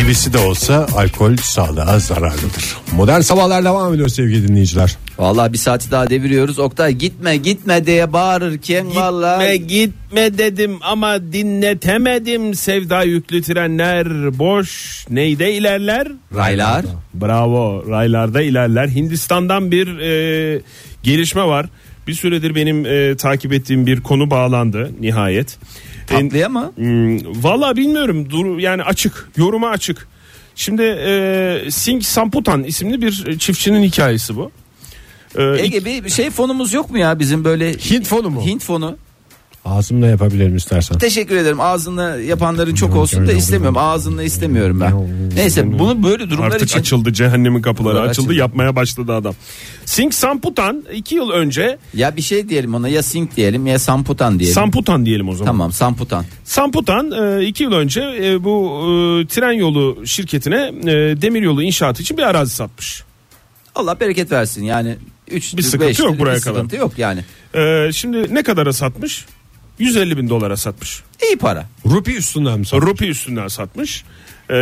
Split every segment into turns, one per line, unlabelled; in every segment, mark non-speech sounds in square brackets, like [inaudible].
Gibisi de olsa alkol sağlığa zararlıdır. Modern sabahlar devam ediyor sevgili dinleyiciler.
Vallahi bir saati daha deviriyoruz. Oktay gitme gitme diye bağırırken
Gitme
vallahi
gitme dedim ama dinletemedim sevda yüklü trenler boş neyde ilerler?
raylar.
Bravo raylarda ilerler. Hindistan'dan bir e, gelişme var. Bir süredir benim e, takip ettiğim bir konu bağlandı nihayet. En-
Tatlıya mı?
Hmm, Valla bilmiyorum. Dur, yani açık. Yoruma açık. Şimdi e, Singh Samputan isimli bir çiftçinin hikayesi bu. E,
Ege bir bir şey fonumuz yok mu ya bizim böyle
Hint fonu mu?
Hint fonu.
Ağzımla yapabilirim istersen.
Teşekkür ederim. Ağzınla yapanların çok olsun da istemiyorum. Ağzınla istemiyorum ben. Neyse bunu böyle durumlar
Artık
için
açıldı cehennemin kapıları
Kapılar
açıldı,
açıldı.
yapmaya başladı adam. Singh Samputan 2 yıl önce
ya bir şey diyelim ona ya sink diyelim ya samputan diyelim.
Samputan diyelim o zaman.
tamam samputan.
Samputan 2 yıl önce e, bu e, tren yolu şirketine e, demir yolu inşaatı için bir arazi satmış.
Allah bereket versin yani 3
Bir sıkıntı yok buraya kadar.
Sıkıntı yok yani.
E, şimdi ne kadara satmış? 150 bin dolara satmış.
İyi para.
Rupi üstünden mi sor?
Rupi üstünden satmış. Ee,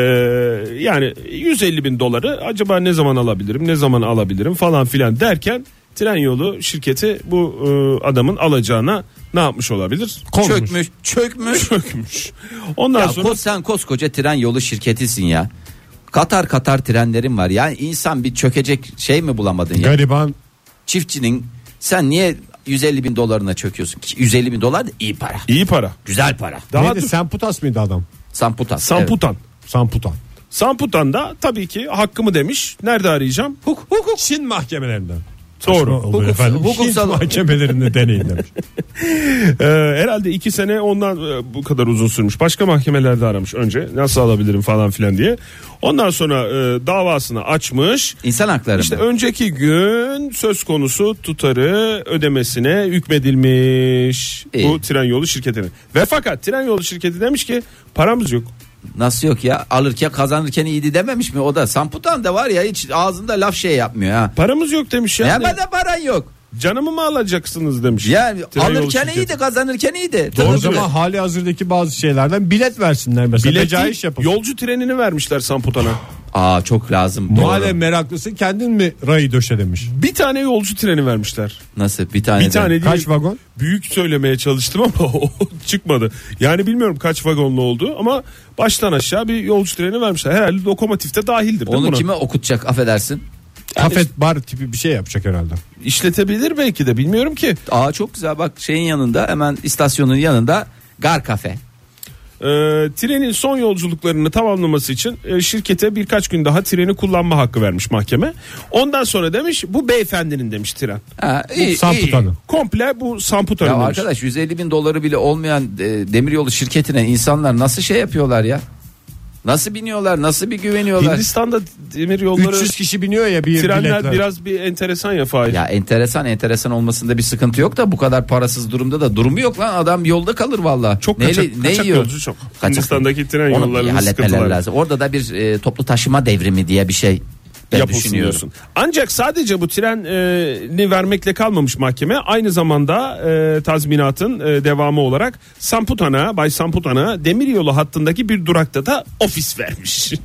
yani 150 bin doları acaba ne zaman alabilirim ne zaman alabilirim falan filan derken tren yolu şirketi bu e, adamın alacağına ne yapmış olabilir?
Çökmüş, çökmüş.
Çökmüş. Ondan
Ya
sonra
ko- sen koskoca tren yolu şirketisin ya. Katar katar trenlerin var. Yani insan bir çökecek şey mi bulamadın ya?
Gariban
Çiftçinin sen niye 150 bin dolarına çöküyorsun? Ki 150 bin dolar da iyi para.
iyi para.
Güzel para.
Daha
Neydi
dur-
Semputas mıydı adam?
Samputas. evet.
Samputan.
Samputan.
Samputan da tabii ki hakkımı demiş. Nerede arayacağım?
Huk, hukuk. Çin mahkemelerinden.
Doğru.
Doğru.
Hukuk-
efendim.
hukuksal-
Hint mahkemelerinde deneyin [laughs] demiş.
Ee, herhalde iki sene ondan e, bu kadar uzun sürmüş. Başka mahkemelerde aramış önce. Nasıl alabilirim falan filan diye. Ondan sonra e, davasını açmış.
İnsan hakları
İşte
mı?
önceki gün söz konusu tutarı ödemesine hükmedilmiş
İyi.
bu tren yolu şirketinin. Ve fakat tren yolu şirketi demiş ki paramız yok.
Nasıl yok ya? Alırken kazanırken iyiydi dememiş mi? O da Samputan da var ya hiç ağzında laf şey yapmıyor ha.
Paramız yok demiş
Ya
yani.
bana paran yok.
Canımı mı alacaksınız demiş.
Yani
Tren yolu
alırken
şirketi.
iyiydi kazanırken iyiydi.
o
Tabii.
zaman hali hazırdaki bazı şeylerden bilet versinler mesela.
Bilet
Tecavüz
değil,
yapın.
yolcu trenini vermişler Samputan'a.
Aa çok lazım.
Madem
Doğru.
meraklısın kendin mi rayı döşe demiş.
Bir tane yolcu treni vermişler.
Nasıl bir tane?
Bir
de-
tane değil.
Kaç vagon?
Büyük söylemeye çalıştım ama [laughs] o çıkmadı. Yani bilmiyorum kaç vagonlu oldu ama baştan aşağı bir yolcu treni vermişler. Herhalde lokomotifte dahildir. değil mi
Onu
buna?
kime okutacak affedersin?
Kafet bar tipi bir şey yapacak herhalde.
İşletebilir belki de bilmiyorum ki.
Aa çok güzel bak şeyin yanında hemen istasyonun yanında gar kafe.
Ee, trenin son yolculuklarını tamamlaması için e, şirkete birkaç gün daha treni kullanma hakkı vermiş mahkeme. Ondan sonra demiş bu beyefendinin demiş tren.
Ha, iyi,
Samputan'ın.
Komple
iyi.
bu
Ya
Samputan'ın demiş.
arkadaş 150 bin doları bile olmayan e, demiryolu şirketine insanlar nasıl şey yapıyorlar ya? Nasıl biniyorlar? Nasıl bir güveniyorlar?
Hindistan'da demir yolları
300 kişi biniyor ya bir
trenler
biletler.
biraz bir enteresan ya Fahir.
Ya enteresan enteresan olmasında bir sıkıntı yok da bu kadar parasız durumda da durumu yok lan adam yolda kalır valla.
Çok kaçak- kaçak yolcu çok. Hindistan'daki tren
Onu bir
yollarının
halletmeleri
sıkıntıları.
lazım. Orada da bir e, toplu taşıma devrimi diye bir şey ben
yapılsın
düşünüyorum.
diyorsun. Ancak sadece bu treni vermekle kalmamış mahkeme aynı zamanda e, tazminatın e, devamı olarak Samputan'a, Bay Samputan'a demiryolu hattındaki bir durakta da ofis vermiş. [laughs]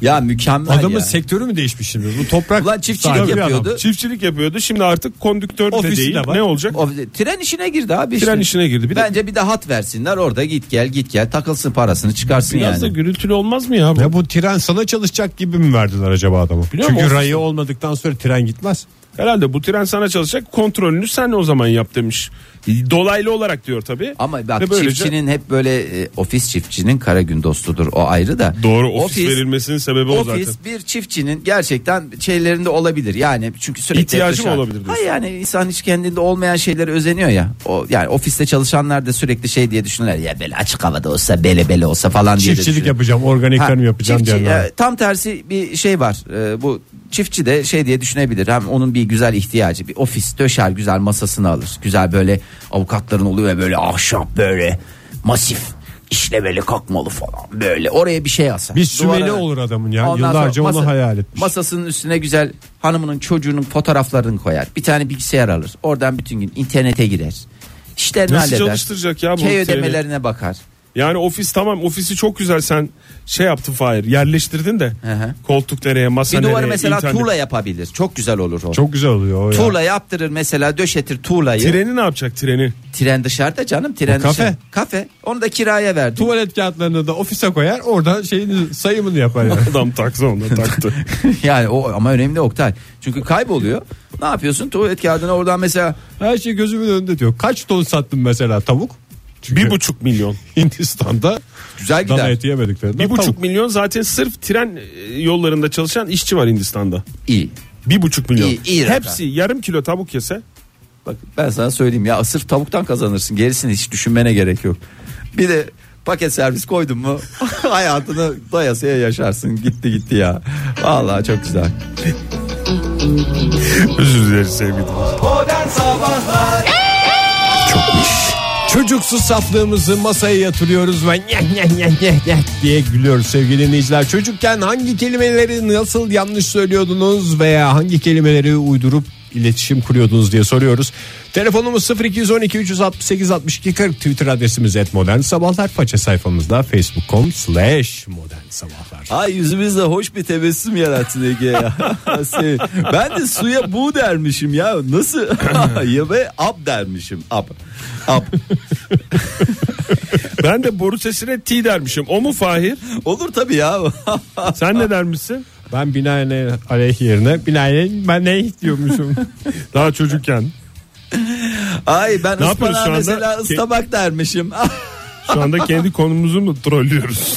Ya mükemmel
Adamın
ya.
sektörü mü değişmiş şimdi? Bu toprak
Ulan çiftçilik
sahibi bir adam.
yapıyordu.
Çiftçilik yapıyordu. Şimdi artık konduktör de
Ofisi
değil.
de var.
ne olacak?
O, tren işine girdi abi. işte.
Tren işine girdi. Bir de-
Bence bir de hat versinler orada git gel git gel takılsın parasını çıkarsın
Biraz da
yani.
gürültülü olmaz mı ya bu?
Ya bu tren sana çalışacak gibi mi verdiler acaba adamı?
Biliyor
Çünkü
musun?
rayı olmadıktan sonra tren gitmez.
Herhalde bu tren sana çalışacak. Kontrolünü sen o zaman yap demiş. Dolaylı olarak diyor tabii.
Ama bak
Ve böylece-
çiftçinin hep böyle e, ofis çiftçinin kara gün dostudur o ayrı da.
Doğru ofis, verilmesinin sebebi o zaten.
Ofis bir çiftçinin gerçekten şeylerinde olabilir. Yani çünkü sürekli
İhtiyacı mı
dışarı-
olabilir diyorsun?
Hayır yani insan hiç kendinde olmayan şeylere özeniyor ya. O yani ofiste çalışanlar da sürekli şey diye düşünürler. Ya böyle açık havada olsa bele bele olsa falan diye de
Çiftçilik
düşünürler.
yapacağım, organikler mi
Ha,
yapacağım
çiftçi,
diyenler. var.
e, tam tersi bir şey var. E, bu çiftçi de şey diye düşünebilir. Hem onun bir güzel ihtiyacı. Bir ofis döşer güzel masasını alır. Güzel böyle avukatların oluyor ya böyle ahşap böyle masif işlemeli kalkmalı falan böyle oraya bir şey asar.
Bir sümele
Duvara-
olur adamın ya.
Ondan
Yıllarca
sonra
onu hayal etmiş.
Masasının üstüne güzel hanımının çocuğunun fotoğraflarını koyar. Bir tane bilgisayar alır. Oradan bütün gün internete girer. İşlerini
Nasıl
halleder.
çalıştıracak ya bu
Key
treni?
ödemelerine bakar.
Yani ofis tamam ofisi çok güzel sen şey yaptın Fahir yerleştirdin de
hı.
koltuk nereye masa
Bir
nereye
duvarı mesela
internet-
tuğla yapabilir. Çok güzel olur o.
Çok güzel oluyor o ya.
Tuğla yaptırır mesela döşetir tuğlayı. Tren,
Treni ne yapacak treni?
dışarıda canım tren
O kafe.
dışarı. Kafe. Onu da kiraya verdi.
Tuvalet kağıtlarını da ofise koyar oradan şeyin sayımını yapar [laughs] yani.
Adam
[laughs]
taksonla taktı.
yani o ama önemli Oktay. Çünkü kayboluyor. Ne yapıyorsun? Tuvalet kağıdını oradan mesela
Her şey gözümün önünde diyor. Kaç ton sattın mesela tavuk? Çünkü
bir buçuk milyon.
Hindistan'da
güzel gider.
dana eti yemediklerinden
Bir buçuk
tavuk.
milyon zaten sırf tren e, yollarında çalışan işçi var Hindistan'da.
İyi.
Bir buçuk milyon.
İyi, iyi rakam.
Hepsi yarım kilo tavuk yese
Bak ben sana söyleyeyim ya sırf tavuktan kazanırsın. Gerisini hiç düşünmene gerek yok. Bir de paket servis koydun mu [laughs] hayatını doyasıya yaşarsın. Gitti gitti ya. Vallahi çok güzel.
özür dileriz sevgili.
Çocuksuz saflığımızı masaya yatırıyoruz ve nyeh nyeh nyeh nyeh nyeh diye gülüyoruz sevgili dinleyiciler. Çocukken hangi kelimeleri nasıl yanlış söylüyordunuz veya hangi kelimeleri uydurup iletişim kuruyordunuz diye soruyoruz. Telefonumuz 0212 368 62 40 Twitter adresimiz et modern sabahlar faça sayfamızda facebook.com slash modern sabahlar.
Ay yüzümüzde hoş bir tebessüm yarattın Ege ya. [laughs] Sev- ben de suya bu dermişim ya. Nasıl? [laughs] ya be ab dermişim. Ab. Ab.
Ben de boru sesine T dermişim. O mu Fahir?
Olur tabii ya. [laughs]
Sen ne dermişsin?
Ben binaenaleyh aleyh yerine binaenaleyh ben ne diyormuşum.
Daha çocukken.
Ay ben
Ne yapıyoruz şu
ıspanağa
anda?
mesela ıstabak dermişim. [laughs]
Şu anda kendi konumuzu mu trollüyoruz?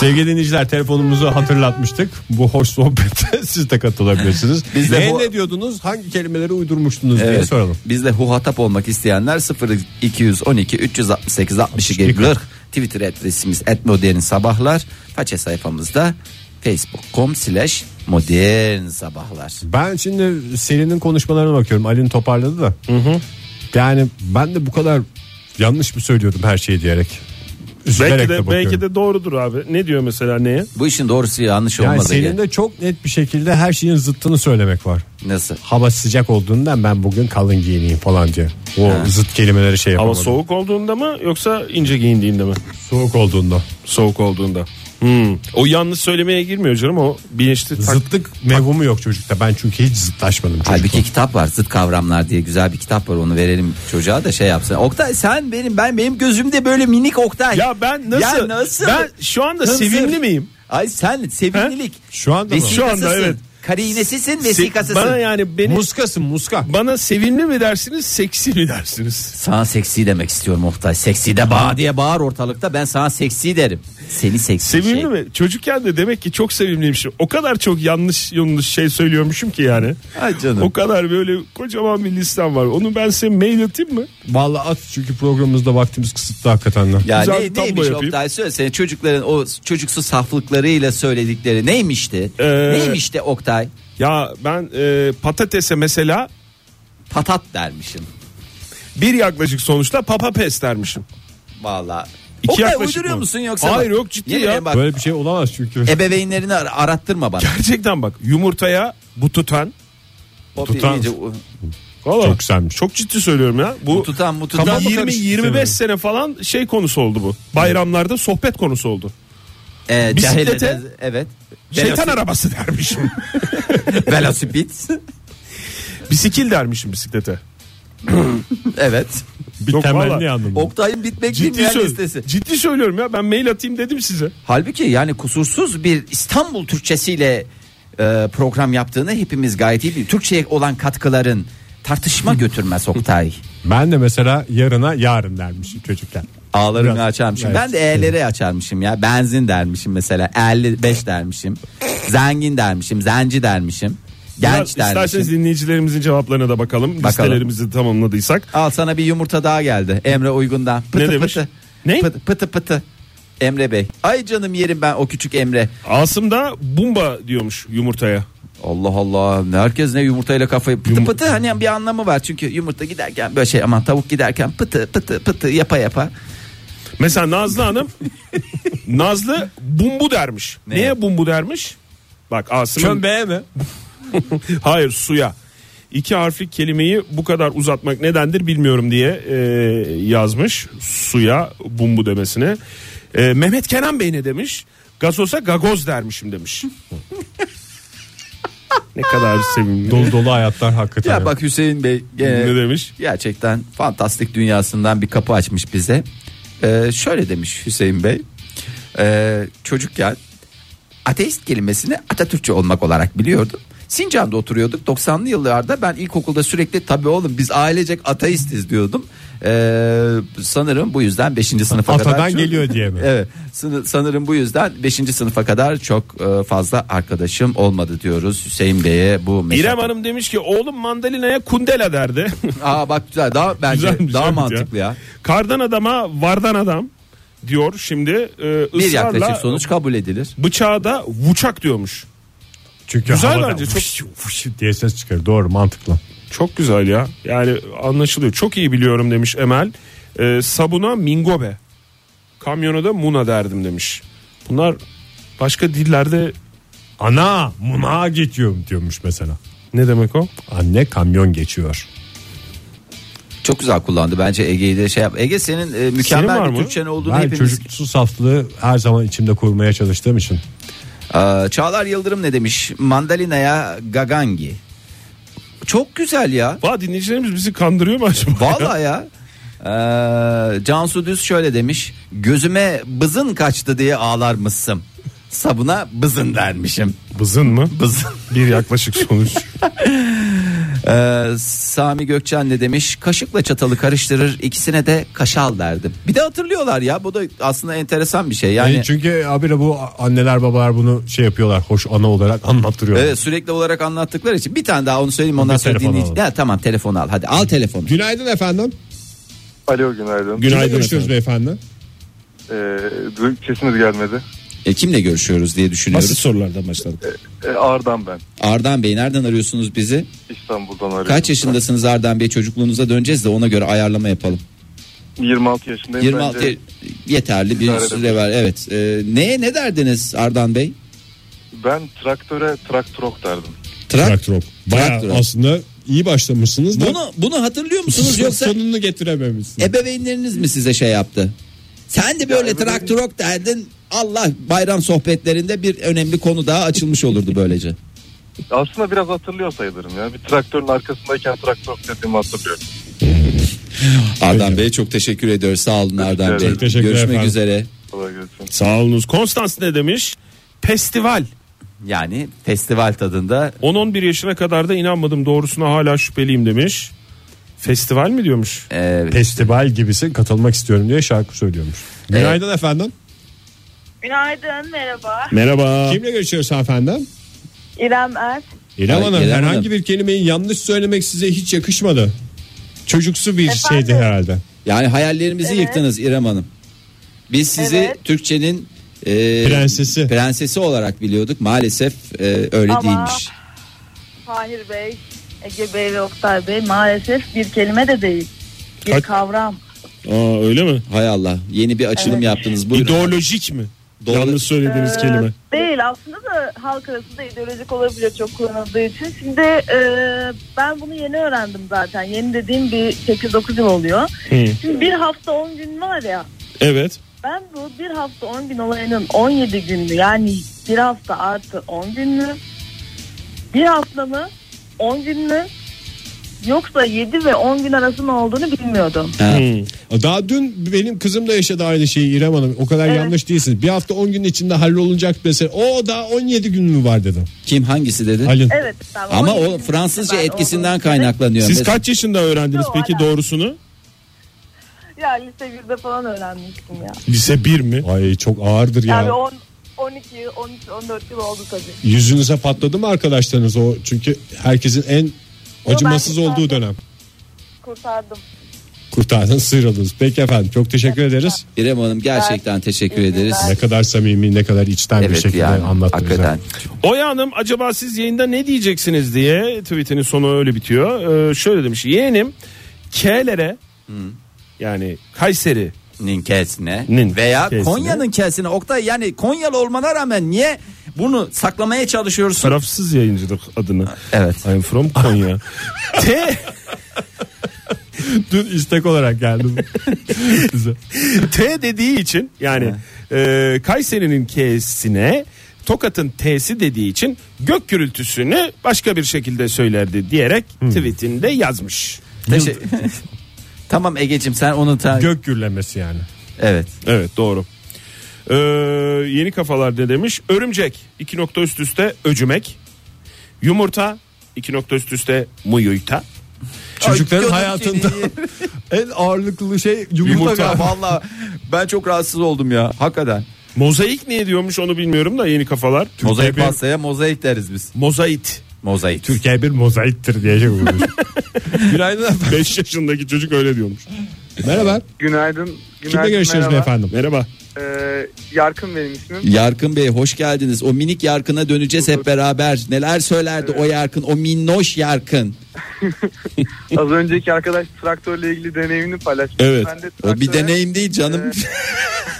Sevgili dinleyiciler telefonumuzu hatırlatmıştık. Bu hoş sohbete [laughs] siz de katılabilirsiniz.
Biz de
ne,
bu-
ne diyordunuz? Hangi kelimeleri uydurmuştunuz diye
Evet.
soralım.
Biz de huhatap olmak isteyenler 0212 368 62 40 Twitter adresimiz @modern sabahlar. Faça sayfamızda facebook.com slash modern sabahlar.
Ben şimdi serinin konuşmalarına bakıyorum. Ali'nin toparladı da. Yani ben de bu kadar yanlış mı söylüyordum her şeyi diyerek. Üzülerek
belki
de,
de,
bakıyorum.
belki de doğrudur abi. Ne diyor mesela neye?
Bu işin doğrusu yanlış
yani
olmadı.
senin de çok net bir şekilde her şeyin zıttını söylemek var.
Nasıl?
Hava sıcak olduğundan ben bugün kalın giyineyim falan diye. O zıt kelimeleri şey
Hava
yapamadım.
soğuk olduğunda mı yoksa ince giyindiğinde mi?
soğuk olduğunda.
Soğuk olduğunda. Hmm. O yanlış söylemeye girmiyor canım o bilinçli tak-
Zıtlık mevhumu yok çocukta. Ben çünkü hiç zıtlaşmadım çocukta.
Halbuki kitap var zıt kavramlar diye güzel bir kitap var onu verelim çocuğa da şey yapsın. Oktay sen benim ben benim gözümde böyle minik Oktay.
Ya ben nasıl?
Ya nasıl?
Ben şu anda
Hınzır.
sevimli miyim?
Ay sen sevimlilik.
Şu anda mı?
Vesikasısın.
Şu anda, evet.
Karinesisin
Se-
vesikasısın.
Bana yani beni
Muskasın muska.
bana sevimli mi dersiniz, seksi mi dersiniz?
Sana seksi demek istiyorum Oktay. Seksi de bağır diye bağır ortalıkta. Ben sana seksi derim. Seni seksi
Sevimli
şey.
mi? Çocukken de demek ki çok sevimliymişim. O kadar çok yanlış yanlış şey söylüyormuşum ki yani.
Ay canım.
O kadar böyle kocaman bir listem var. Onu ben size mail atayım mı?
Vallahi at çünkü programımızda vaktimiz kısıtlı hakikaten. de.
Ya
Güzel
ne,
bir tablo
neymiş
yapayım.
Oktay söylesene çocukların o çocuksu saflıklarıyla söyledikleri neymişti?
Ee,
neymişti Oktay?
Ya ben e, patatese mesela
Patat dermişim.
bir yaklaşık sonuçta papa pes dermişim.
Valla.
İki
Oktay
yaklaşık
uyduruyor
mı?
musun yoksa?
Hayır,
bak-
yok, ciddi
Yemin
ya.
ederim Bak,
Böyle bir şey olamaz çünkü.
E,
ebeveynlerini ar- arattırma bana.
Gerçekten bak yumurtaya bu tutan.
Hop,
tutan-
iyice-
Vallahi
Çok güzelmiş.
Çok ciddi söylüyorum ya. Bu
Bu tutan bu tutan.
Tam
Kafamı karıştı
20-25
senin.
sene falan şey konusu oldu bu. Bayramlarda sohbet konusu oldu.
Ee,
Bisiklete-
cahil- Evet.
Şeytan arabası dermişim.
Velosi- Velosiped.
[laughs] Bisikil dermişim bisiklete.
[laughs] evet.
Bir
Yok,
temelli
vallahi.
yandım.
Oktay'ın bitmek
Ciddi,
bilmeyen
söyle-
listesi.
ciddi söylüyorum ya ben mail atayım dedim size.
Halbuki yani kusursuz bir İstanbul Türkçesiyle e, program yaptığını hepimiz gayet iyi biliyoruz. Türkçe'ye olan katkıların tartışma götürmez Oktay.
Ben de mesela yarına yarın dermişim çocukken.
Ağlarımı
Biraz-
açarmışım.
Evet.
Ben de E'leri açarmışım ya. Benzin dermişim mesela. 55 dermişim. Zengin dermişim. Zenci dermişim.
Biraz
Genç
İsterseniz
dermişim.
dinleyicilerimizin cevaplarına da bakalım. Listelerimizi tamamladıysak.
Al sana bir yumurta daha geldi. Emre Uygun'dan. Pıtı
Ne demiş?
Pıtı.
Ne?
Pıtı pıtı. pıtı. Emre Bey. Ay canım yerim ben o küçük Emre.
Asım da bumba diyormuş yumurtaya.
Allah Allah herkes ne yumurtayla kafayı pıtı pıtı hani bir anlamı var çünkü yumurta giderken böyle şey aman tavuk giderken pıtı pıtı pıtı yapa yapa
Mesela Nazlı [laughs] Hanım Nazlı bumbu dermiş.
Ne?
Neye bumbu dermiş? Bak Asım'ın
Çömbeğe mi?
hayır suya. iki harfli kelimeyi bu kadar uzatmak nedendir bilmiyorum diye e, yazmış suya bumbu demesine. E, Mehmet Kenan Bey ne demiş? Gazosa gagoz dermişim demiş. ne kadar sevimli.
Dolu dolu hayatlar hakikaten.
Ya bak Hüseyin Bey gene
Ne demiş?
gerçekten fantastik dünyasından bir kapı açmış bize. Ee, şöyle demiş Hüseyin Bey. Ee, çocukken ateist kelimesini Atatürkçe olmak olarak biliyordum. Sincan'da oturuyorduk 90'lı yıllarda ben ilkokulda sürekli tabii oğlum biz ailecek ateistiz diyordum. Ee, sanırım bu yüzden 5. sınıfa kadar.
Atadan
çok-
geliyor diye mi?
[laughs] Evet sını- sanırım bu yüzden 5. sınıfa kadar çok e, fazla arkadaşım olmadı diyoruz Hüseyin Bey'e bu
İrem
meşakkat-
Hanım demiş ki oğlum mandalinaya kundela derdi. [laughs]
Aa bak güzel daha bence
Güzelmiş,
daha
evet
mantıklı ya.
Kardan adama vardan adam diyor şimdi e,
Bir
ısrarla
yaklaşık sonuç kabul edilir.
bıçağa da vuçak diyormuş.
Çünkü
Güzel
havadan
bence, çok-
fış fış diye ses çıkıyor. Doğru mantıklı.
Çok güzel ya yani anlaşılıyor çok iyi biliyorum demiş Emel. E, sabuna mingobe kamyona da muna derdim demiş. Bunlar başka dillerde
Ana muna geçiyorum diyormuş mesela.
ne demek o?
Anne kamyon geçiyor.
Çok güzel kullandı bence Ege'yi de şey yap. Ege senin e,
Senin
mükemmel
var
bir
mı?
Türkçen olduğunu
ben
hepimiz.
çocuksu saflığı her zaman içimde kurmaya çalıştığım için.
Aa, Çağlar Yıldırım ne demiş? Mandalina'ya gagangi. Çok güzel ya.
Va dinleyicilerimiz bizi kandırıyor mu acaba?
Vallahi ya. Ee, Cansu Düz şöyle demiş. Gözüme bızın kaçtı diye ağlar mısın? Sabuna bızın dermişim.
Bızın mı?
Bızın.
Bir
[laughs]
yaklaşık sonuç.
Ee, Sami Gökçen ne demiş? Kaşıkla çatalı karıştırır ikisine de kaşal derdim. Bir de hatırlıyorlar ya bu da aslında enteresan bir şey. Yani
E, çünkü abire bu anneler babalar bunu şey yapıyorlar. Hoş ana olarak anlattırıyorlar.
evet, Ee, sürekli olarak anlattıkları için bir tane daha onu söyleyeyim ondan
Bir
sonra
telefon
dinleyici.
alalım.
Ya tamam telefonu al hadi al telefonu.
Günaydın efendim.
Alo günaydın.
Kimle görüşüyoruz beyefendi?
Ee, du- sesiniz gelmedi.
E, kimle görüşüyoruz diye düşünüyoruz.
sorulardan başladık.
Ee, Ardan ben.
Ardan Bey nereden arıyorsunuz bizi?
İstanbul'dan arıyorum.
Kaç yaşındasınız Ardan Bey? Çocukluğunuza döneceğiz de ona göre ayarlama yapalım.
26 yaşındayım.
26
Bence,
yeterli bir
İdare edelim.
süre var. Evet. E, neye ne derdiniz Ardan Bey?
ben traktöre traktorok derdim.
Trak.
Traktör. Bayağı
Traktör.
aslında iyi başlamışsınız da
Bunu bunu hatırlıyor musunuz yoksa
sonunu getirememişsiniz.
Ebeveynleriniz mi size şey yaptı? Sen de böyle
ebeveyn-
traktorok derdin. Allah bayram sohbetlerinde bir önemli konu daha açılmış olurdu böylece.
Aslında biraz hatırlıyor sayılırım ya. Bir traktörün arkasındayken traktorok dediğimi hatırlıyorum.
Ardan Bey çok teşekkür ediyoruz. Sağ olun Ardan Bey.
ederim.
Teşekkürler
Görüşmek
efendim.
üzere.
Kolay gelsin.
Sağ olunuz. Konstans ne demiş? Festival.
Yani festival tadında
10-11 yaşına kadar da inanmadım doğrusuna hala şüpheliyim demiş. Festival mi diyormuş?
e,
Festival gibisi katılmak istiyorum diye şarkı söylüyormuş. Günaydın efendim.
Günaydın, merhaba.
Merhaba.
Kimle görüşüyoruz efendim?
İrem Er.
İrem
Ay,
Hanım
İrem
herhangi
Hanım.
bir kelimeyi yanlış söylemek size hiç yakışmadı. Çocuksu bir
Efendim?
şeydi herhalde.
yani hayallerimizi
Evet.
yıktınız İrem Hanım. Biz sizi
Evet.
Türkçenin e,
Prensesi.
prensesi olarak biliyorduk. Maalesef e, öyle
Ama-
değilmiş.
Fahir Bey, Ege Bey ve Oktay Bey maalesef bir kelime de değil. Bir
Hadi.
kavram.
Aa, öyle mi?
Hay Allah. Yeni bir açılım yaptınız. Buyurun.
İdeolojik mi?
Doğru.
Yanlış söylediğiniz
Ee,
kelime.
Değil aslında da halk arasında ideolojik olabilir çok kullanıldığı için. Şimdi e, ben bunu yeni öğrendim zaten. Yeni dediğim bir 8-9 yıl oluyor.
Hı.
Şimdi bir hafta 10 gün var ya.
Evet.
Ben bu bir hafta 10 gün olayının 17 günlü yani bir hafta artı 10 günlü bir hafta mı 10 günlü yoksa 7 ve 10 gün arasında olduğunu bilmiyordum.
Ha.
Hı.
Daha dün benim kızım da yaşadı aynı şeyi İrem Hanım. O kadar
Evet.
yanlış değilsiniz. Bir hafta 10 gün içinde hallolunacak mesela. O daha 17 gün mü var dedim.
Kim hangisi dedi?
Halin.
Evet. ben
Ama
17
o
gün
Fransızca
ben
etkisinden
olduğunu-
kaynaklanıyor.
Siz
Mesela-
kaç yaşında öğrendiniz
Yok,
peki
hala.
doğrusunu?
Ya lise 1'de falan öğrenmiştim ya.
Lise 1 mi?
Ay çok ağırdır ya.
Yani 10 12, 13, 14 yıl oldu tabii.
Yüzünüze patladı mı arkadaşlarınız o? Çünkü herkesin en acımasız
ben-
olduğu dönem.
Kurtardım.
Kurtardınız sıyrıldınız. Peki efendim çok teşekkür ederiz.
İrem Hanım gerçekten teşekkür
İyi
ederiz.
günler.
Ne kadar samimi ne kadar içten bir
Evet
şekilde
yani
anlattınız. [laughs]
hakikaten.
Oya Hanım acaba siz yayında ne diyeceksiniz diye tweetinin sonu öyle bitiyor. Ee, şöyle demiş. Yeğenim K'lere yani Kayseri
Nin kesine
Nin
veya
kesine.
Konya'nın kesine. Oktay yani Konyalı olmana rağmen niye Bunu saklamaya çalışıyorsun.
Tarafsız yayıncılık adını.
Evet.
I'm from [laughs] Konya. T
Dün istek olarak geldim.
[laughs]
T dediği için yani e, Kayseri'nin K'sine Tokat'ın T'si dediği için gök gürültüsünü başka bir şekilde söylerdi diyerek tweetinde yazmış.
Teşe- [laughs] tamam Ege'cim sen onu ta-
Gök gürlemesi yani.
Evet.
Evet doğru. Ee, yeni kafalar ne demiş? Örümcek iki nokta üst üste öcümek. Yumurta iki nokta üst üste muyuyta.
Çocukların
Ay,
hayatında
gözüm seni.
en ağırlıklı şey [laughs] yumurta.
Yumurta
galiba.
valla ben çok rahatsız oldum ya hakikaten.
Mozaik ne diyormuş onu bilmiyorum da yeni kafalar.
Mozaik
bir-
[laughs]
pastaya mozaik deriz biz.
Mozait.
Mozaik. [laughs]
[laughs] Türkiye bir mozaiktir şey diyecek olmuş. [laughs] Günaydın efendim.
5 yaşındaki çocuk öyle diyormuş.
Merhaba.
Günaydın.
Kimle görüşüyoruz beyefendi?
Merhaba.
Ee, Yarkın benim ismim.
Yarkın Bey hoş geldiniz. O minik Yarkın'a döneceğiz hep beraber. Neler söylerdi o Yarkın, o minnoş Yarkın.
Az önceki arkadaş traktörle ilgili deneyimini paylaşmış.
Evet.
Ben de
O bir
traktöre-
deneyim değil canım.
[laughs]
[laughs]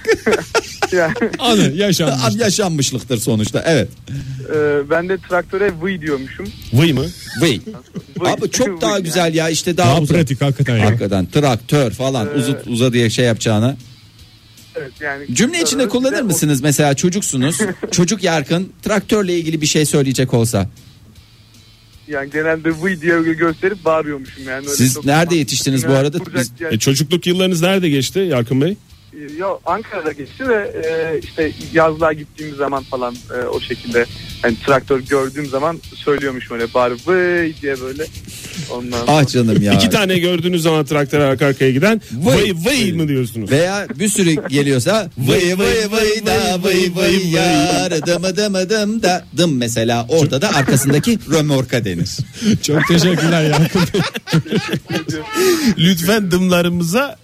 Yani,
[laughs] Anı yaşanmış.
Yaşanmışlıktır sonuçta. Evet.
e, ben de traktöre vıy diyormuşum.
Vıy mı?
Vıy.
Vıy,
Abi çok
vıy
daha
yani.
güzel ya işte daha,
Daha
uzak.
pratik hakikaten ya.
Hakikaten traktör falan uzun uza diye şey yapacağına.
Evet, yani
Cümle içinde kullanır mısınız mesela çocuksunuz. Çocuk Yarkın traktörle ilgili bir şey söyleyecek olsa.
Yani genelde vıy diye gösterip bağırıyormuşum yani. Öyle
Siz
çok-
nerede yetiştiniz bu
Yani
arada?
kuracak
Biz-
yer-
E, çocukluk yıllarınız nerede geçti Yarkın Bey?
Yo, Ankara'da geçti ve e, işte yazlığa gittiğim zaman falan e, o şekilde hani traktör gördüğüm zaman söylüyormuşum öyle bağırıp vıy diye böyle. Ondan
Ah canım ya.
İki tane gördüğünüz zaman traktöre arka arkaya giden
Vıy.
vıy vıy mı diyorsunuz?
Veya bir sürü geliyorsa vıy vıy vıy da vıy vıy yar dım dım dım da dım mesela orada da arkasındaki römorka denir.
Çok teşekkürler Yakup.
Lütfen dımlarımıza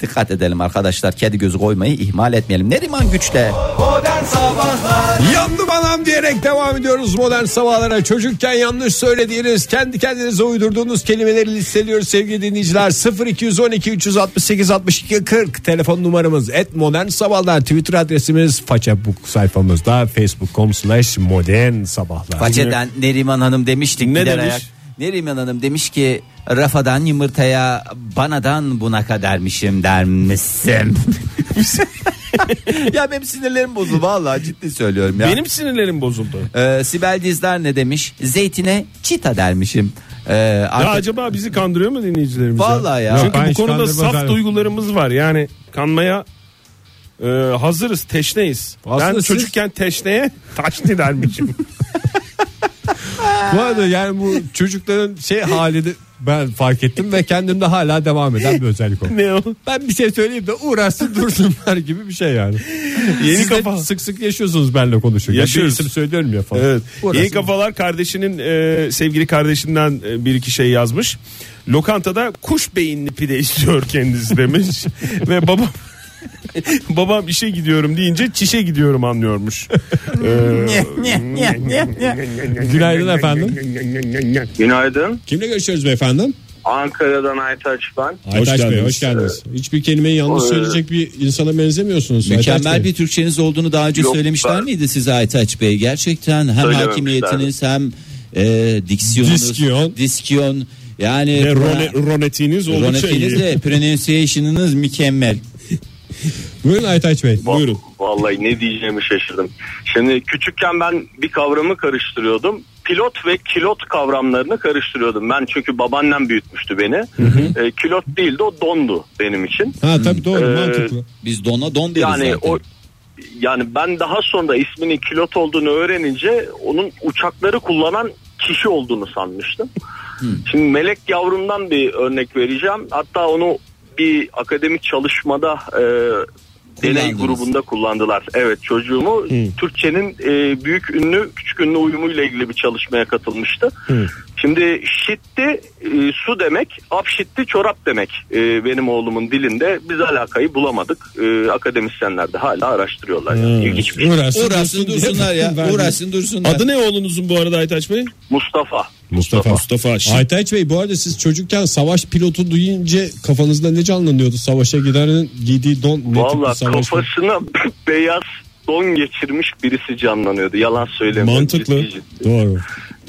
Dikkat edelim arkadaşlar kedi gözü koymayı ihmal etmeyelim. Neriman Güç'te
Yandım anam diyerek devam ediyoruz modern sabahlara. Çocukken yanlış söylediğiniz, kendi kendinize uydurduğunuz kelimeleri listeliyoruz sevgili dinleyiciler. 0212 368 62 40 telefon numaramız. Et modern sabahlar Twitter adresimiz Facebook sayfamızda facebook.com slash modern sabahlar.
Façeden Neriman Hanım demiştik.
Ne
gider
demiş?
ayak. Neriman Hanım demiş ki rafadan yumurtaya banadan buna kadarmışım
[laughs]
dermişsin. ya benim sinirlerim bozuldu vallahi ciddi söylüyorum ya.
benim sinirlerim bozuldu.
Ee, Sibel Dizler ne demiş? Zeytine çita dermişim. Ee,
Ya
arka- [laughs]
acaba bizi kandırıyor mu dinleyicilerimiz?
Vallahi ya.
Çünkü
Ben
bu
hiç
konuda
kandırmaz
saf
abi.
duygularımız var. Yani kanmaya e, hazırız, teşneyiz.
Aslında
ben
siz-
çocukken teşneye [laughs] taşni dermişim.
Bu arada yani bu çocukların şey halini ben fark ettim ve kendimde hala devam eden bir özellik o.
ne o?
Ben bir şey söyleyeyim de uğraşsın dursunlar gibi bir şey yani. Yeni Siz de
kafa.
sık sık yaşıyorsunuz benimle konuşurken.
Yaşıyoruz.
Bir isim söylüyorum ya falan.
Evet.
Uğraşsın.
Yeni kafalar kardeşinin e, sevgili kardeşinden e, bir iki şey yazmış. Lokantada kuş beyinli pide istiyor kendisi demiş ve babam [laughs] babam işe gidiyorum deyince çişe gidiyorum anlıyormuş.
Günaydın
E, [laughs]
efendim.
Günaydın.
Kimle görüşüyoruz beyefendi?
Ankara'dan Aytaç ben.
Aytaç hoş Bey
geldiniz.
hoş geldiniz. Hiçbir kelimeyi yanlış
Oy.
söyleyecek bir insana benzemiyorsunuz. Aytaç
Mükemmel
Bey.
bir Türkçeniz olduğunu daha önce
Yok,
söylemişler
ben-
miydi size Aytaç Bey? Gerçekten hem
Söylememişlerdi.
hakimiyetiniz hem e, diksiyonunuz,
Diskiyon.
diskiyon yani
Ve rone, ronetiniz oldukça
Ronetiniz
iyi.
de pronunciation'ınız mükemmel.
Buyurun Aytaç Bey.
Va-
Buyurun.
Vallahi ne diyeceğimi şaşırdım. Şimdi küçükken ben bir kavramı karıştırıyordum. Pilot ve kilot kavramlarını karıştırıyordum. Ben çünkü babaannem büyütmüştü beni. E, kilot değildi o dondu benim için.
Ha
Hmm.
tabii doğru
Ee,
mantıklı.
Biz dona don deriz
Yani
zaten.
o yani ben daha sonra isminin kilot olduğunu öğrenince onun uçakları kullanan kişi olduğunu sanmıştım. Şimdi melek yavrumdan bir örnek vereceğim. Hatta onu bir akademik çalışmada e, deney
Kullandınız.
grubunda kullandılar. Evet çocuğumu Türkçenin e, büyük ünlü küçük ünlü uyumuyla ilgili bir çalışmaya katılmıştı. Şimdi şitti e, su demek, apşitti çorap demek e, benim oğlumun dilinde. Biz alakayı bulamadık. E, akademisyenler de hala araştırıyorlar. Yani. İlginç bir şey.
Uğraşsın,
Uğraşsın
diye
dursunlar ya.
verdim.
Uğraşsın dursunlar.
Adı ne oğlunuzun bu arada Aytaç Bey?
Mustafa.
Mustafa.
Mustafa. Şi-
Aytaç Bey bu arada siz çocukken savaş pilotu duyunca kafanızda ne canlanıyordu? Savaşa gidenin giydiği don ne
Valla
tipli savaş?
kafasına [laughs] beyaz don geçirmiş birisi canlanıyordu. Yalan söylemiyorum.
Mantıklı.
Ciddi ciddi.
Doğru.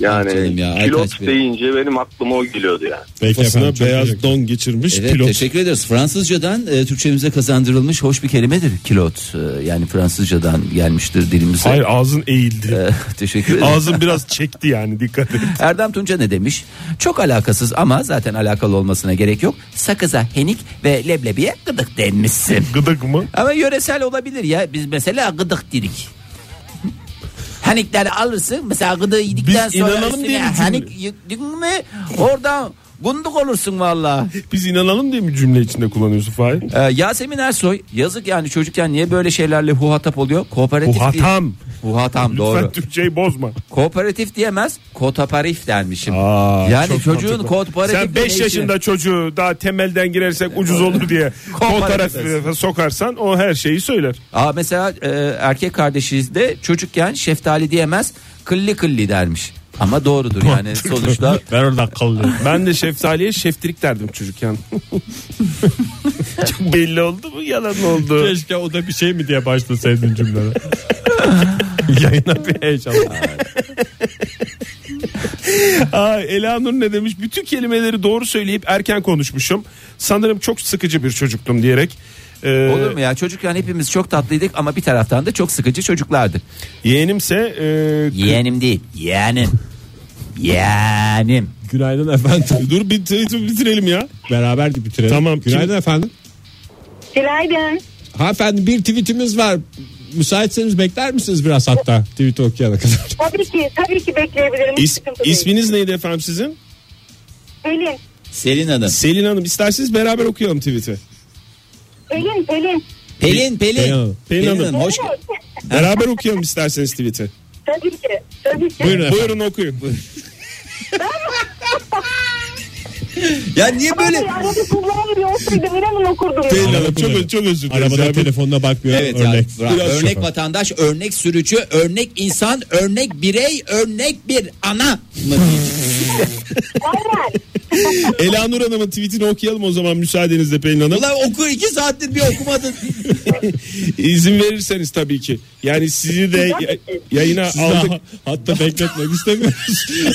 Canım
Yani
ya, Aytaç
pilot
Bey.
deyince benim aklıma o geliyordu yani.
Peki
Kafasına
efendim, çok
beyaz
teşekkür-
don geçirmiş
Evet
pilot.
teşekkür ederiz. Fransızcadan e, Türkçemize kazandırılmış hoş bir kelimedir kilot. E, yani Fransızcadan gelmiştir dilimize.
Hayır ağzın eğildi.
E, [laughs] teşekkür ederim.
Ağzın biraz çekti yani dikkat et.
Erdem Tunca ne demiş? Çok alakasız ama zaten alakalı olmasına gerek yok. Sakıza henik ve leblebiye gıdık denmişsin.
Gıdık mı?
Ama yöresel olabilir ya. Biz mesela gıdık dirik. Hanikleri alırsın mesela gıdığı yedikten
Biz
sonra
inanalım
üstüne
diye mi cümle?
hanik yedin mi oradan gunduk olursun valla.
Biz inanalım diye mi cümle içinde kullanıyorsun Fahir?
Ee, Yasemin Ersoy yazık yani çocukken niye böyle şeylerle huhatap oluyor? Kooperatif diye-
Buhatam.
Huhatam
Lütfen
doğru.
Türkçeyi bozma.
Kooperatif diyemez kotaparif dermişim. yani
çok
çocuğun
mantıklı.
kooperatif
Sen 5 yaşında çocuğu daha temelden girersek ucuz
[laughs]
olur diye
Kooperatif
kol tarafa sokarsan o her şeyi söyler.
Aa, mesela e, erkek kardeşiz de çocukken şeftali diyemez kılli kılli dermiş. Ama doğrudur yani sonuçta
Ben oradan kalıyorum.
Ben de şeftaliye şeftirik derdim
[laughs]
çocukken. Çok belli oldu mu yalan oldu.
Keşke o da bir şey mi diye başlasaydın cümlene. [laughs] Yayına bir heyecan.
Aa, Elanur ne demiş? Bütün kelimeleri doğru söyleyip erken konuşmuşum. Sanırım çok sıkıcı bir çocuktum diyerek. Ee,
olur mu ya çocukken hepimiz çok tatlıydık ama bir taraftan da çok sıkıcı çocuklardık.
Yeğenimse e, [laughs]
Yeğenim değil yeğenim. Yeğenim.
Günaydın efendim.
Dur bir tweet'i bitirelim ya.
Beraber de bitirelim.
Tamam.
Günaydın efendim.
Günaydın.
Hanımefendi bir tweetimiz var. Müsaitseniz bekler misiniz biraz hatta tweet okuyana kadar?
[laughs] Tabii ki, tabii ki bekleyebilirim.
İs, isminiz neydi efendim sizin?
Elin,
Selin Hanım.
Selin Hanım isterseniz beraber okuyalım tweet'i.
Elin, Elin.
Pelin Pelin.
Pelin Hanım.
Pelin Hanım.
hoş
Beraber okuyalım isterseniz tweet'i.
Tabii ki, tabii ki.
Buyurun efendim.
Buyurun okuyun.
Ya niye böyle
Arada kullanamıyor olsaydım inanın okurdum.
Pelin
Arabada
Hanım çok,
kullanıyorum.
çok özür dileriz.
Arabada
ya.
telefonuna bakmıyor.
Evet
örnek.
ya, bravo.
Biraz
örnek
şoför.
vatandaş, örnek sürücü, örnek insan, örnek birey, örnek bir ana mı diyeceğim?
Aynen.
Elanur Hanım'ın tweetini okuyalım o zaman müsaadenizle Pelin Hanım.
Ulan oku iki saattir bir okumadın.
İzin verirseniz tabii ki. Yani sizi de ya- yayına
Siz
aldık.
daha hatta bekletmek
[laughs]
istemiyoruz.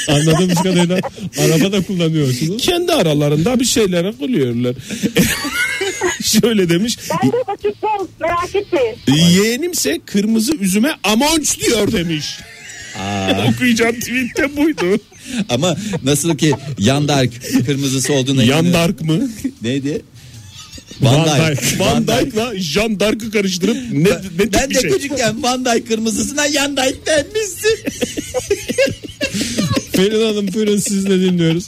Anladığımız kadarıyla arabada kullanıyorsunuz.
Kendi aralarında bir şeylere kuluyorlar. [laughs] Şöyle demiş.
Ben de bakacağım, merak etmeyin.
Yeğenimse kırmızı üzüme amonç diyor demiş. [laughs] Okuyacağım tweette buydu.
Ama nasıl ki Yandark kırmızısı olduğuna inanıyorum.
Yandark mı?
Neydi?
Van
Van
Dijk.
Dijk.
Van Dijk'la Jean d'Arc'ı karıştırıp ne, ne tip
Ben
bir
de
şey?
küçükken Van Dijk kırmızısına Yan Dijk denmişsin.
Pelin Hanım buyurun siz de dinliyoruz.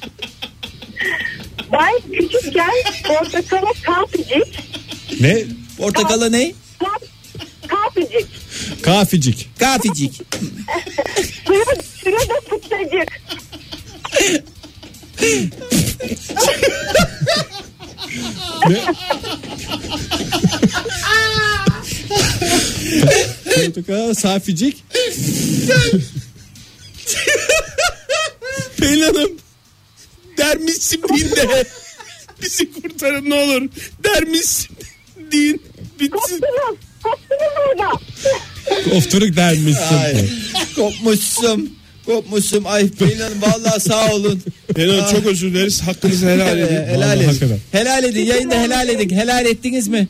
Ben küçükken portakala kalpicik,
Ne?
Portakala ne?
kalp, kalpicik,
Kaficik.
Kaficik.
suya, suya da fıtacık.
Portakala saficik.
Pelin Hanım dermişsin din de bizi kurtarın ne olur dermişsin din bitsin.
Koptunuz, koptunuz orada.
Ofturuk dermişsin.
Ay, kopmuşsun. Kopmuşsun. Ay Pelin Hanım vallahi sağ olun.
Pelin Hanım çok özür dileriz hakkınızı helal
Ee,
edin.
helal
Vallahi
edin.
hakikaten.
Helal edin. Yayında helal edin. Helal ettiniz mi?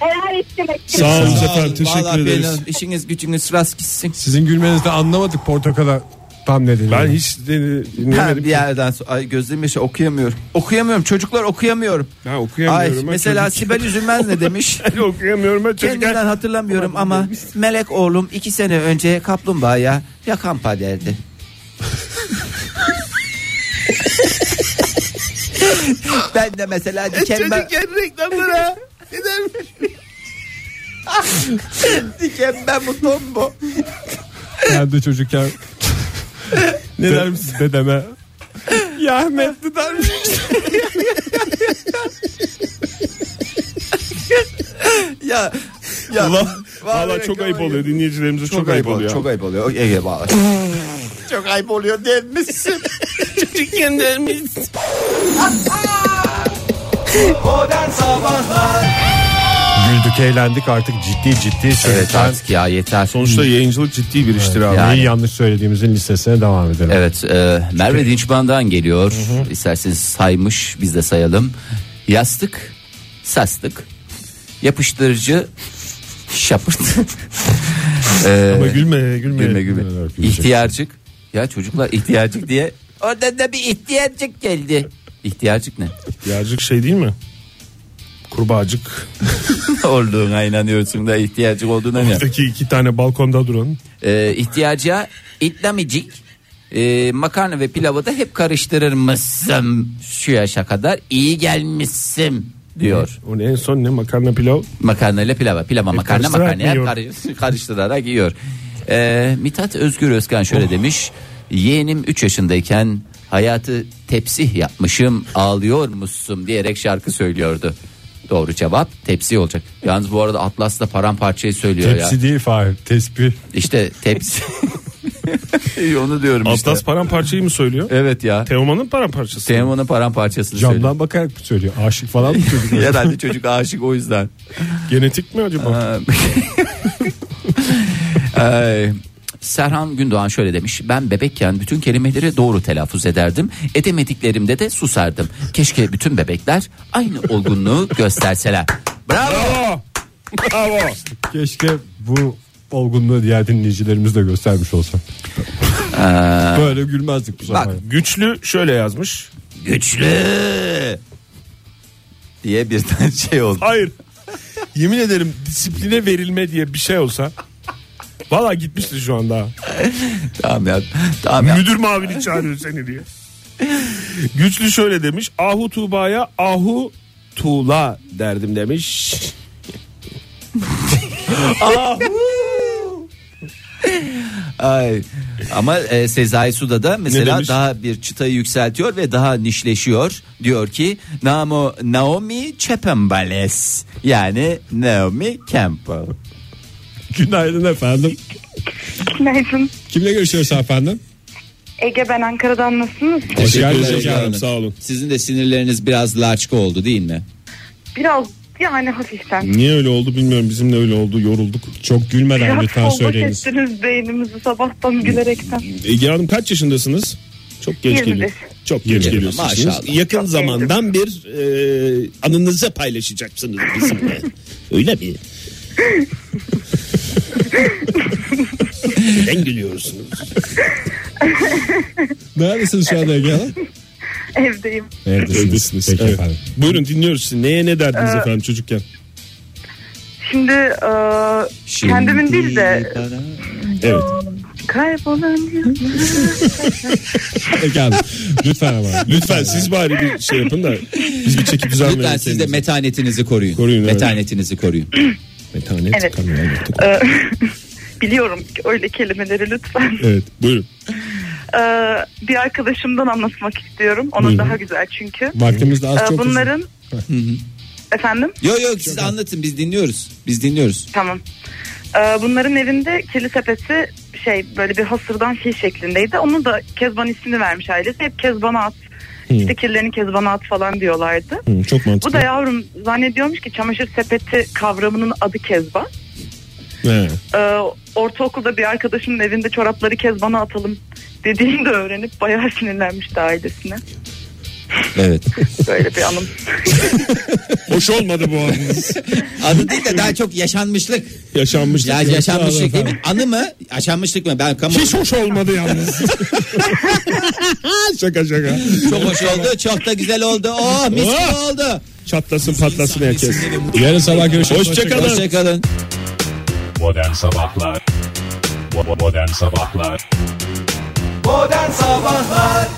Helal ettim.
Sağ
Sağ
olun
olun.
efendim
Vallahi
teşekkür
Pelin
ederiz.
Hanım, işiniz gücünüz rast gitsin.
Sizin gülmenizde anlamadık portakala tam ne dediğini.
Ben hiç din-
Ha,
dinlemedim.
bir yerden sonra ay gözlerim yaşa okuyamıyorum. Okuyamıyorum çocuklar okuyamıyorum.
Ha, okuyamıyorum.
Ay,
Ha,
mesela
çocuk-
Sibel Üzülmez ne
[laughs]
demiş?
okuyamıyorum ben çocukken.
Kendimden hatırlamıyorum ama Melek oğlum iki sene önce kaplumbağaya yakampa derdi. ben de mesela dikenme, [laughs]
reklamlara.
dikenme mutlum bu.
Ben de
[laughs]
çocukken ne der misiniz dedeme? Ya Ahmetli der misin?
[laughs] Ya, ya
Valla valla çok
reklam-
ayıp oluyor dinleyicilerimize çok,
Çok,
ayıp oluyor.
Çok ayıp oluyor. Ege bağlı. çok ayıp oluyor demişsin. [laughs] Çocukken demişsin. Modern Sabahlar
güldük eğlendik artık ciddi ciddi.
Evet
çocuklar-
artık ya yeter.
Sonuçta yayıncılık ciddi bir iştir abi.
Ya. Yani.
Neyi yanlış söylediğimizin listesine devam edelim.
Evet e, Merve Dinçban'dan geliyor. İsterseniz saymış biz de sayalım. Yastık, sastık, yapıştırıcı, şapırt. E,
Ama gülme gülme.
gülme gülme. İhtiyarcık. Ya çocuklar ihtiyarcık diye. Oradan da bir ihtiyarcık geldi. İhtiyarcık ne? [laughs]
Birazcık şey değil mi? Kurbağacık.
Olduğuna inanıyorsun da ihtiyarcık olduğuna
[laughs]
mı?
Buradaki iki tane balkonda duran.
Ee, ihtiyaca itlamicik e, makarna ve pilavı da hep karıştırır mısın şu yaşa kadar iyi gelmişsin diyor.
O ne en son ne makarna pilav.
Makarna ile pilava pilava makarna
karıştırarak
makarnaya
mı yiyor?
karış- [laughs] karıştırarak yiyor. Ee, Mithat Özgür Özkan şöyle demiş. Yeğenim 3 yaşındayken hayatı tepsih yapmışım ağlıyor musun diyerek şarkı söylüyordu. Doğru cevap tepsi olacak. Yalnız bu arada Atlas da paramparçayı söylüyor ya.
Tepsi değil Fahir tespih.
İşte tepsi. Onu diyorum işte.
Atlas paramparçayı mı söylüyor?
Evet ya.
Teoman'ın paramparçası.
Teoman'ın paramparçasını
Camdan
söylüyor.
bakarak mı söylüyor? Aşık falan mı
[laughs]
çocuk? [laughs]
Herhalde çocuk aşık o yüzden.
Genetik mi acaba?
Ay. Ee, Serhan Gündoğan şöyle demiş. Ben bebekken bütün kelimeleri doğru telaffuz ederdim. Edemediklerimde de susardım. Keşke bütün bebekler aynı olgunluğu [laughs] gösterseler. Bravo.
Keşke bu olgunluğu diğer dinleyicilerimiz de göstermiş olsa.
Ee,
Böyle gülmezdik bu zaman.
Güçlü şöyle yazmış.
Güçlü. Diye bir tane [laughs] şey oldu.
Hayır. Yemin ederim disipline verilme diye bir şey olsa. Valla gitmişti şu anda.
Tamam ya. Tamam ya.
Müdür mavini çağırıyor seni diye. Güçlü şöyle demiş. Ahu Tuğba'ya Ahu Tuğla derdim demiş.
Ay. Ama e, Sezai Suda da
Ne
mesela
demiş?
daha bir çıtayı yükseltiyor ve daha nişleşiyor. Diyor ki Namo, Naomi Chapembales yani Naomi Campbell.
Günaydın efendim.
Günaydın.
Kimle görüşüyoruz efendim?
Ege ben Ankara'dan nasılsınız?
Hoş
geldiniz
geldiniz.
efendim, sağ olun.
Sizin de sinirleriniz biraz laçka oldu değil mi?
Biraz yani hafiften.
Niye öyle oldu bilmiyorum. Bizimle öyle oldu. Yorulduk.
Çok gülmeden
Biraz
lütfen
kollak
söyleyiniz.
ettiniz beynimizi sabahtan gülerekten.
Ege Hanım kaç yaşındasınız? Çok genç
21.
geliyor. Çok genç
Yirmi,
geliyorsunuz.
maşallah.
Yakın
Çok
zamandan bir e, anınızı paylaşacaksınız
[laughs]
bizimle. öyle mi? Neden
[laughs]
gülüyorsunuz?
Neredesiniz şu anda Ege Hanım?
Evdeyim.
Neredesiniz? Peki
Evet.
efendim.
Buyurun dinliyoruz sizi. Neye ne derdiniz
Ee,
efendim çocukken?
Şimdi, e, kendimin değil de
Evet.
kaybolan yıllar.
Ege Hanım lütfen ama.
Lütfen siz bari bir şey yapın da biz bir çekip düzen
Lütfen siz de metanetinizi koruyun.
Koruyun, evet.
metanetinizi koruyun.
Metanet
Evet.
kamyon yaptık.
E, biliyorum ki öyle kelimeleri lütfen.
Evet buyurun.
E, bir arkadaşımdan anlatmak istiyorum. Onun daha güzel çünkü.
Vaktimiz de az
E,
çok.
bunların... Efendim?
Yok yok siz anlatın biz dinliyoruz. Biz dinliyoruz.
Tamam. Ee, bunların evinde kirli sepeti şey böyle bir hasırdan fil şeklindeydi. Onu da Kezban ismini vermiş ailesi. Hep Kezban'a at. İşte kirlerini Kezban'a at falan diyorlardı.
uzun. Hı, çok
Bu
mantıklı.
da yavrum zannediyormuş ki çamaşır sepeti kavramının adı Kezban.
He.
Ee, ortaokulda bir arkadaşımın evinde çorapları Kezban'a atalım dediğini de öğrenip bayağı sinirlenmişti ailesine.
Evet.
Böyle bir anım.
Hoş olmadı
[laughs]
bu anınız.
Adı değil de daha çok yaşanmışlık.
Yaşanmışlık.
Ya yaşanmışlık değil mi? Anı mı? Yaşanmışlık mı? Ben kamu
Hiç hoş olmadı yalnız. [laughs] şaka şaka.
çok hoş oldu. Çok da güzel oldu. Oh mis gibi
Oh!
oldu.
Çatlasın patlasın herkes.
Yarın sabah görüşürüz.
Hoşçakalın.
Hoşçakalın.
Modern Sabahlar Bo- bo- Modern Sabahlar
Modern Sabahlar